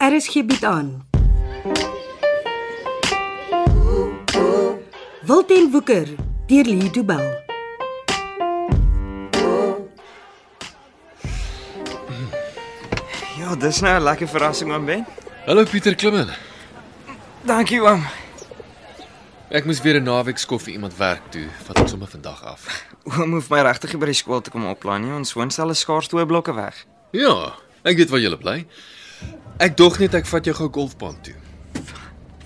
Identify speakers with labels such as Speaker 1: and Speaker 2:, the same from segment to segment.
Speaker 1: RSG bied Er aan. Wilten Woeker deur Lee Du Bell.
Speaker 2: Ja, dis nou 'n lekker verrassing oom Ben.
Speaker 3: Hallo Pieter Klimmen.
Speaker 2: Dankie oom.
Speaker 3: Ek moes weer 'n naweek skof vir iemand werk toe, vat ons sommer vandag af.
Speaker 2: Oom hoef my regtig nie by die skool te kom oplaai nie. Ons woonstel is skaars twee blokke weg.
Speaker 3: Ja, ek weet waar jy bly. Ek dog net ek vat jou gou golfbaan toe.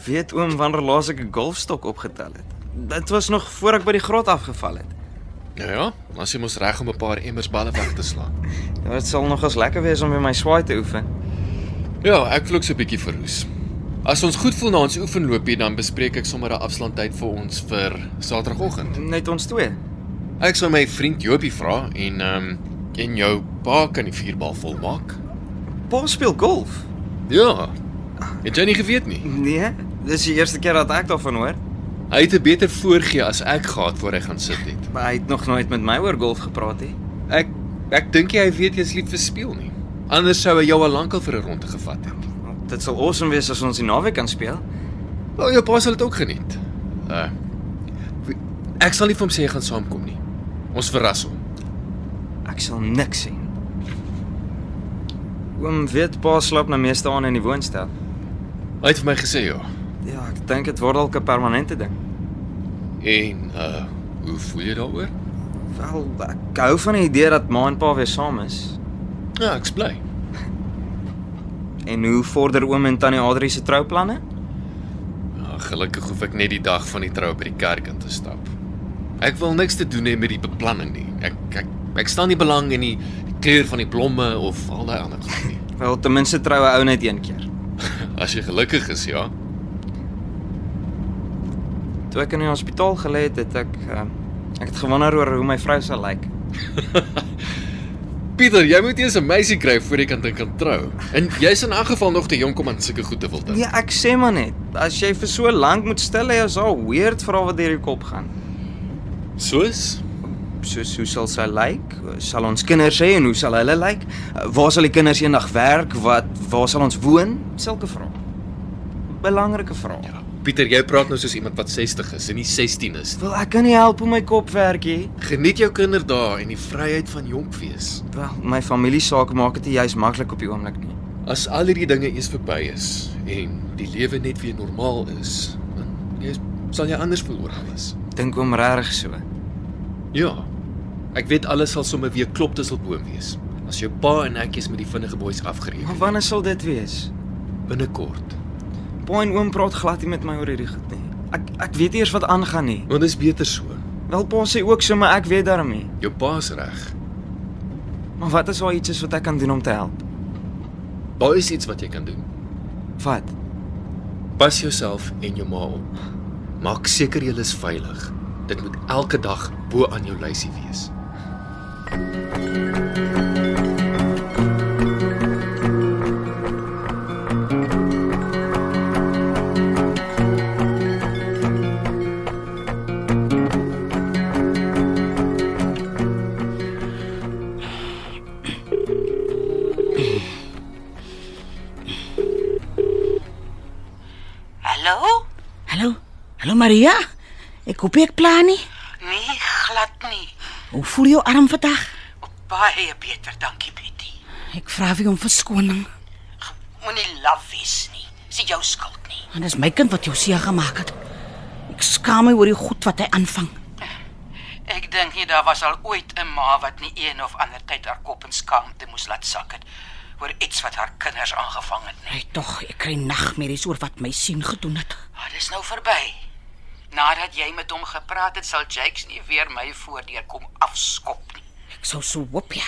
Speaker 2: Weet oom wanneer laas ek 'n golfstok opgetel het? Dit was nog voor ek by die grot afgeval het.
Speaker 3: Ja ja, as jy mos reg om 'n paar emmers balle weg te slaan.
Speaker 2: Ja, Dit sal nogals lekker wees om weer my swaai te oefen.
Speaker 3: Ja, ek vloek so 'n bietjie verroes. As ons goed voel na ons oefenloopie, dan bespreek ek sommer 'n afslaandtyd vir ons vir Saterdagoggend.
Speaker 2: Net ons twee.
Speaker 3: Ek sal my vriend Jopie vra en ehm um, en jou pa kan die vierbal volmaak.
Speaker 2: Pa speel golf.
Speaker 3: Ja. Het jy nie geweet nie?
Speaker 2: Nee, dis die eerste keer dat ek daarvan hoor.
Speaker 3: Hy het 'n beter voorgee as ek gehad voor hy gaan sit het.
Speaker 2: Maar hy het nog nooit met my oor golf gepraat nie.
Speaker 3: Ek ek dink nie hy weet jy's lief vir speel nie. Anders sou hy jou al lankal vir 'n ronde gevat het.
Speaker 2: Dit sal awesome wees as ons die naweek kan speel.
Speaker 3: Wel, Nou, jou pa sal dit ook geniet. Uh wie- ek sal nie vir hom sê hy gaan saamkom nie. Ons verras hom.
Speaker 2: Ek sal niks sien. Oom weet pa slaap na meeste aan in die woonstel.
Speaker 3: Hy het vir my gesê ja.
Speaker 2: Ja, ek dink dit word dalk 'n permanente ding.
Speaker 3: En uh hoe voel jy daaroor?
Speaker 2: Wel, ek hou van die idee dat ma en pa weer saam is.
Speaker 3: Ja, ek's bly.
Speaker 2: En hoe vorder oom en tannie Adri se trouplanne?
Speaker 3: Ja, gelukkig hoef ek net die dag van die trou by die kerk in te stap. Ek wil niks te doen hê met die beplanning nie. Ek ek ek staan nie belang in die, die kleur van die blomme of al daai ander goed nie.
Speaker 2: Wel, ten minste trou 'n ou net een keer.
Speaker 3: As jy gelukkig is, ja.
Speaker 2: Toe ek in die hospitaal gelê het, het ek uh, ek het gewonder oor hoe my vrou sal lyk.
Speaker 3: Pieter, jy moet eers 'n meisie kry voor jy kan dink aan trou. En jy's in elk geval nog te jonk om aan sulke goed te wil dink.
Speaker 2: Nee, ek sê maar net, as jy vir so lank moet stil lê, is al weird vir al wat deur jou kop gaan.
Speaker 3: Soos
Speaker 2: soos hoe sal sy lyk? Sal ons kinders hê en hoe sal hulle lyk? Uh, Waar sal die kinders eendag werk? Wat waar sal ons woon? Sulke vrae. Belangrike vrae. Ja.
Speaker 3: Pieter, jy praat nou soos iemand wat 60 is en nie 16 is. nie.
Speaker 2: Wel, ek kan nie help om my kop werk hier.
Speaker 3: Geniet jou kinderdae en die vryheid van jonk wees.
Speaker 2: Wel, my familie sake maak dit nie juis maklik op die oomblik nie.
Speaker 3: As al hierdie dinge eers verby is en die lewe net weer normaal is, dan jy sal jy anders voel oor alles.
Speaker 2: Dink hom regtig so.
Speaker 3: Ja. Ek weet alles sal sommer weer klop tusselboom wees. As jou pa en ek is met die vinnige boeis
Speaker 2: Maar
Speaker 3: afgereek.
Speaker 2: wanneer sal dit wees?
Speaker 3: Binnekort.
Speaker 2: Pa en oom praat glad nie met my oor hierdie goed nie. Ek ek weet nie eers wat aangaan nie.
Speaker 3: Want dit is beter so.
Speaker 2: Wel, pa sê ook so, maar ek weet daarom nie.
Speaker 3: Jou pa's reg.
Speaker 2: Maar wat as daar iets is wat ek kan doen om te help?
Speaker 3: Daar is iets wat jy kan doen.
Speaker 2: Wat?
Speaker 3: Pas jouself en jou ma op. Maak seker jy is veilig. Dit moet elke dag bo aan jou lysie wees.
Speaker 4: Hallo?
Speaker 5: Hallo. Hallo Maria. Ek koop ek plan nie.
Speaker 4: Nee, glad nie.
Speaker 5: Hoe voel jou arm vandag?
Speaker 4: Baie beter, dankie Betty.
Speaker 5: Ek vra vir jou om verskoning.
Speaker 4: Ge- Moenie laf wees nie. Dis jou skuld nie.
Speaker 5: Want dis my kind wat jou seer gemaak het. Ek skaam my oor die goed wat hy aanvang.
Speaker 4: Ek dink nie daar was al ooit 'n ma wat nie een of ander tyd haar kop in skaamte moes laat sak het oor iets wat haar kinders aangevang het nee. nie.
Speaker 5: Hy tog, ek kry nagmerries oor wat my seun gedoen het.
Speaker 4: Maar dis nou verby. Nadat jy met hom gepraat het, sal Jakes nie weer my voordeur kom afskop nie.
Speaker 5: Ek sou so hoop ja.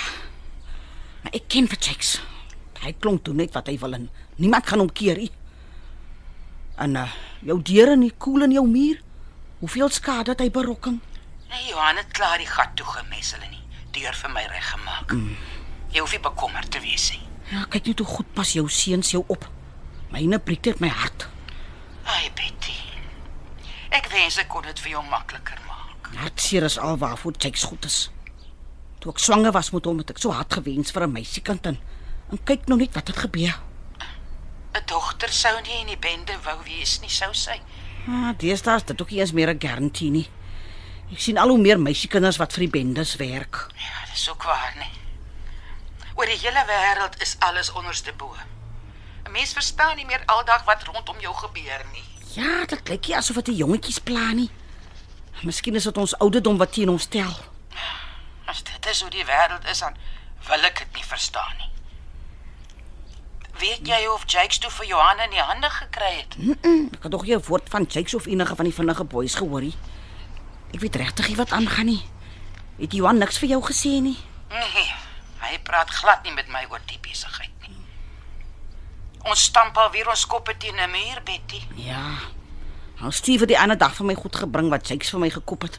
Speaker 5: Maar ek ken vir Jakes. Hy klonk toe net wat hy wil en niemand gaan hom keer nie. En uh, jou deure en die koel in jou muur. Hoeveel skade het hy berokken?
Speaker 4: Nee, Johan het klaar die gat toegemessel en die deur vir my reggemaak. Jy hoef nie bekommerd te wees nie.
Speaker 5: Ja, kyk net hoe goed pas jou seuns jou op. Myne breek dit my hart.
Speaker 4: Ai Betty. Ek wens ek kon dit vir jou makliker maak.
Speaker 5: Hartseer is al waarvoor Jakes goed is. Toe ek swanger was met hom het ek so hard gewens vir 'n meisiekind en, en kyk nou net wat het gebeur.
Speaker 4: 'n Dogter sou nie in die bende wou wees nie, sou sy.
Speaker 5: Ah, deesdae is dit ook nie eens meer 'n garantie nie. Ek sien al hoe meer meisiekinders wat vir die bendes werk.
Speaker 4: Ja, dis ook waar nie. Oor die hele wêreld is alles onderste bo. 'n Mens verstaan nie meer aldag wat rondom jou gebeur nie.
Speaker 5: Ja, dit lyk nie asof dit die jongetjies pla nie. Miskien is dit ons ouderdom wat teen ons tel.
Speaker 4: As dit is hoe die wêreld is, dan wil ek dit nie verstaan nie. Weet jy of Jakes toe vir Johan in die hande gekry het?
Speaker 5: Ek het nog nie 'n woord van Jakes of enige van die vinnige boeis gehoor nie. Ek weet regtig nie wat aangaan nie. Het Johan niks vir jou gesê nie?
Speaker 4: Nee, hy praat glad nie met my oor die besigheid nie. Ons stamp al weer ons koppe teen 'n muur, Betty.
Speaker 5: Ja. Ons Steve het die ander dag vir my goed gebring wat Jakes vir my gekoop het.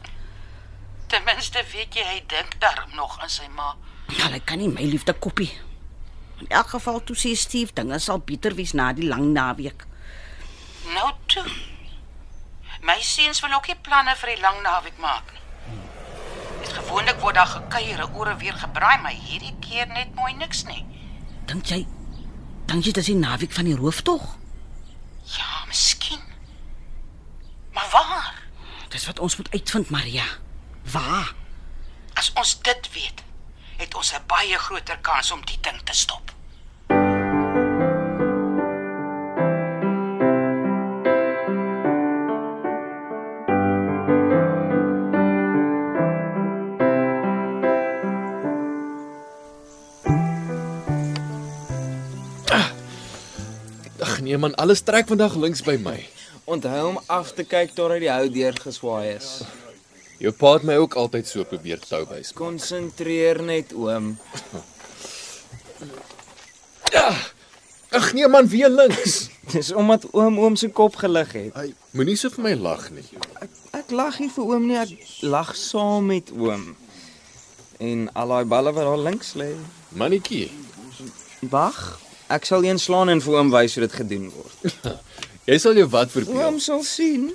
Speaker 4: Ten minste weet jy hy dink daarom nog aan sy ma.
Speaker 5: Ja, hy kan nie my liefde koppie. In elk geval toe sê Steve dinge sal beter wees na die lang naweek.
Speaker 4: Nou toe. My seuns wil ook nie planne vir die lang naweek maak nie. Dit gewoonlik word daar gekuier, ore weer gebraai, maar hierdie keer net mooi niks nie.
Speaker 5: Dink jy dink jy dis die naweek van die rooftog?
Speaker 4: Ja, miskien. Maar waar?
Speaker 5: Dis wat ons moet uitvind, Maria. Waar?
Speaker 4: As ons dit weet, het ons 'n baie groter kans om die ding te stop.
Speaker 3: Ag nee man, alles trek vandag links by my.
Speaker 2: Onthou om af te kyk tot hy die hout deur geswaai is.
Speaker 3: Jou pa het my ook altyd so probeer touwys.
Speaker 2: Konsentreer net oom.
Speaker 3: Ag nee man, weer links.
Speaker 2: Dis omdat oom oom se kop gelig het.
Speaker 3: Hy moenie so vir my lag nie.
Speaker 2: Ek lag nie vir oom nie, ek lag saam met oom. En al daai balle wat daar links lê.
Speaker 3: Mannetjie,
Speaker 2: Wag, ek sal een slaan en vir oom wys hoe dit gedoen word.
Speaker 3: jy sal jou wat verbeel.
Speaker 2: Oom sal sien.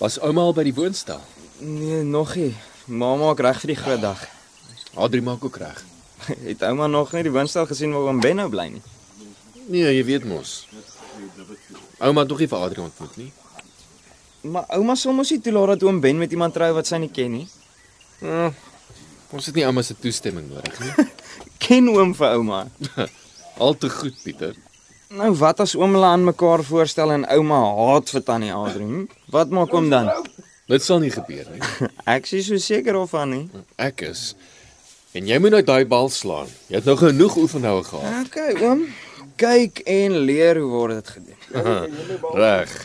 Speaker 3: Was ouma al by die woonstel?
Speaker 2: Nee, nog nie. Mamma maak reg vir die groot dag.
Speaker 3: Adri maak ook reg.
Speaker 2: Het ouma nog nie die woonstel gesien waar oom Benno bly nie.
Speaker 3: Nee, jy weet mos. Ouma het nog nie vir Adri ontmoet nie.
Speaker 2: Maar ouma sal mos nie toelaat dat oom Ben met iemand trou wat sy nie ken nie.
Speaker 3: Ons het nie ouma se toestemming nodig nie.
Speaker 2: Ken oom vir ouma.
Speaker 3: Al te goed, Pieter.
Speaker 2: Nou wat as oom hulle aan mekaar voorstel en ouma haat vir tannie Adrien? Wat maak oom dan?
Speaker 3: Dit sal nie gebeur nie.
Speaker 2: Ek is nie so seker of aan nie.
Speaker 3: Ek is. En jy moet nou daai bal slaan. Jy het nou genoeg oefenhoue gehad.
Speaker 2: Okay, oom, kyk en leer hoe word dit gedoen.
Speaker 3: Reg.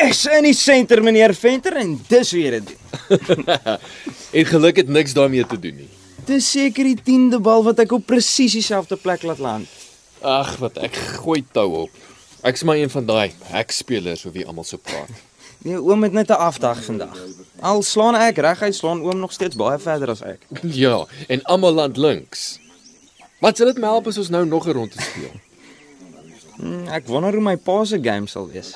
Speaker 2: Yes, in die senter meneer Venter en dis hoe jy dit doen.
Speaker 3: En geluk het niks daarmee te doen nie.
Speaker 2: Dis seker die 10de bal wat ek op presies dieselfde plek laat land.
Speaker 3: Ag, wat ek gooi tou op. Ek's maar een van daai hekspelers of wie almal so praat.
Speaker 2: Nee, oom het net 'n afdag vandag. Al slaan ek reguit, slaan oom nog steeds baie verder as ek.
Speaker 3: Ja, en almal land links. Wat sal dit my help as ons nou nog 'n ronde speel?
Speaker 2: Hm, Ek wonder hoe my pa se game sal wees.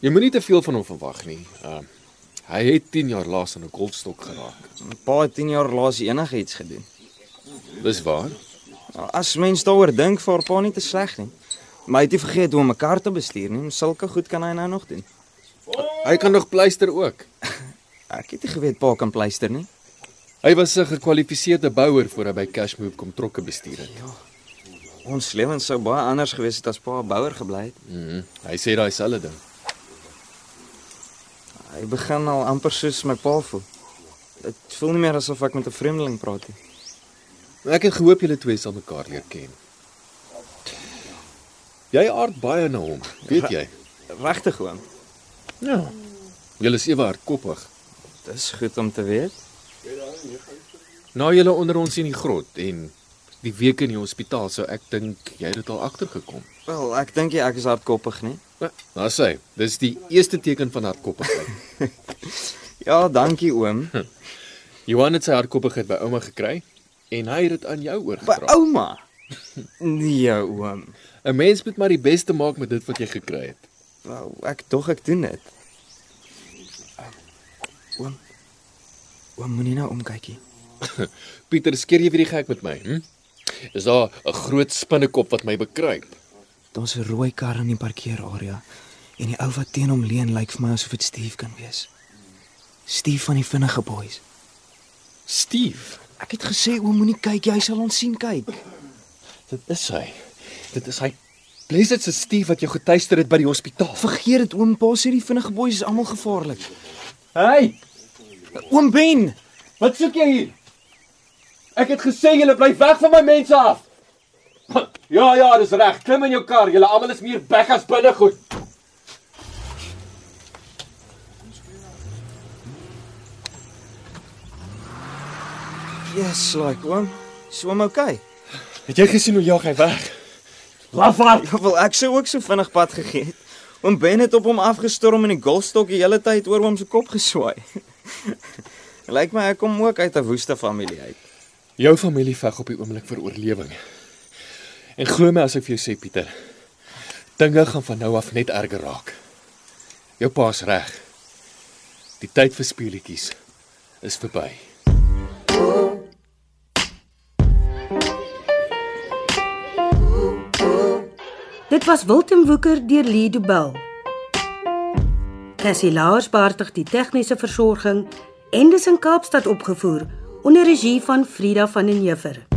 Speaker 3: Jy moenie te veel van hom verwag nie. Ehm uh, hy het 10 jaar laas aan 'n golfstok geraak.
Speaker 2: My pa het 10 jaar laas enigiets gedoen. Nou,
Speaker 3: Dis waar.
Speaker 2: As mens daaroor dink, vir pa nie te sleg nie. Maar hy het nie vergeet hoe om 'n kar te bestuur nie. Sulke goed kan hy nou nog doen.
Speaker 3: Hy kan nog pleister ook.
Speaker 2: Ek het nie geweet pa kan pleister nie.
Speaker 3: Hy was 'n gekwalifiseerde bouer voor hy by Cashmove kom trokke bestuur het.
Speaker 2: Ons lewens sou baie anders gewees het as pa 'n bouer gebly het.
Speaker 3: Mm -hmm. Hy sê daai selfde ding.
Speaker 2: Hy begin al amper soos my pa voel. Dit voel nie meer asof ek met 'n vreemdeling praat nie.
Speaker 3: Ek het gehoop julle twee sal mekaar leer ken. Jy aard baie na hom, weet jy?
Speaker 2: Regtig oom.
Speaker 3: Ja. Julle is ewe hardkoppig.
Speaker 2: Dis goed om te weet.
Speaker 3: Na julle onder ons in die grot en die week in die hospitaal sou ek dink jy het dit al agtergekom.
Speaker 2: Wel, ek dink jy ek is hardkoppig nie.
Speaker 3: Nou sê, dis die eerste teken van hardkoppigheid.
Speaker 2: Ja, dankie oom.
Speaker 3: Johan het sy hardkoppigheid by ouma gekry en hy het dit aan jou
Speaker 2: By
Speaker 3: oorgedra.
Speaker 2: ouma. Nee, oom.
Speaker 3: 'n Mens moet maar die beste maak met dit wat jy gekry het.
Speaker 2: Wel, ek dog ek doen dit. Oom. Oom moenie nou omkykie.
Speaker 3: Pieter, skeer jy weer die gek met my? Hm? Is daar 'n groot spinnekop wat my bekruip?
Speaker 2: Daar's 'n rooi kar in die parkeerarea en die ou wat teen hom leun lyk vir my asof dit Steve kan wees. Steve van die vinnige boys.
Speaker 3: Steve,
Speaker 2: Ek het gesê oom moenie kyk, jy sal ons sien kyk.
Speaker 3: dit is hy. Dit is hy. Blessed se Steve wat jou getuister het by die hospitaal.
Speaker 2: Vergeet dit oom, pa sê die vinnige boys is almal gevaarlik.
Speaker 6: Hey,
Speaker 2: Oom Ben,
Speaker 6: wat soek jy hier? Ek het gesê julle bly weg van my mense af. Ja ja, dis reg. Klim in jou kar. Julle almal is meer weg as binne goed.
Speaker 2: yes, like oom, swem okay.
Speaker 3: Het jy gesien hoe jag hy weg?
Speaker 6: Lafaard.
Speaker 2: "Ja, Wel, ek sou ook so vinnig pad gegee het. Oom Ben het op hom afgestorm en die golfstok die hele tyd oor hom se kop geswaai. Lyk my ek kom ook uit 'n woeste familie uit.
Speaker 3: Jou familie veg op die oomblik vir oorlewing. En glo my as ek vir jou sê, Pieter, dinge gaan van nou af net erger raak. Jou pa's reg. Die tyd vir speelietjies is verby.
Speaker 1: Dit was Wilten Woeker deur Lee Du Bell. Cassie Lars beheerdig die tegniese versorging en dis in Kaapstad opgevoer onder regie van Frida van den Heever.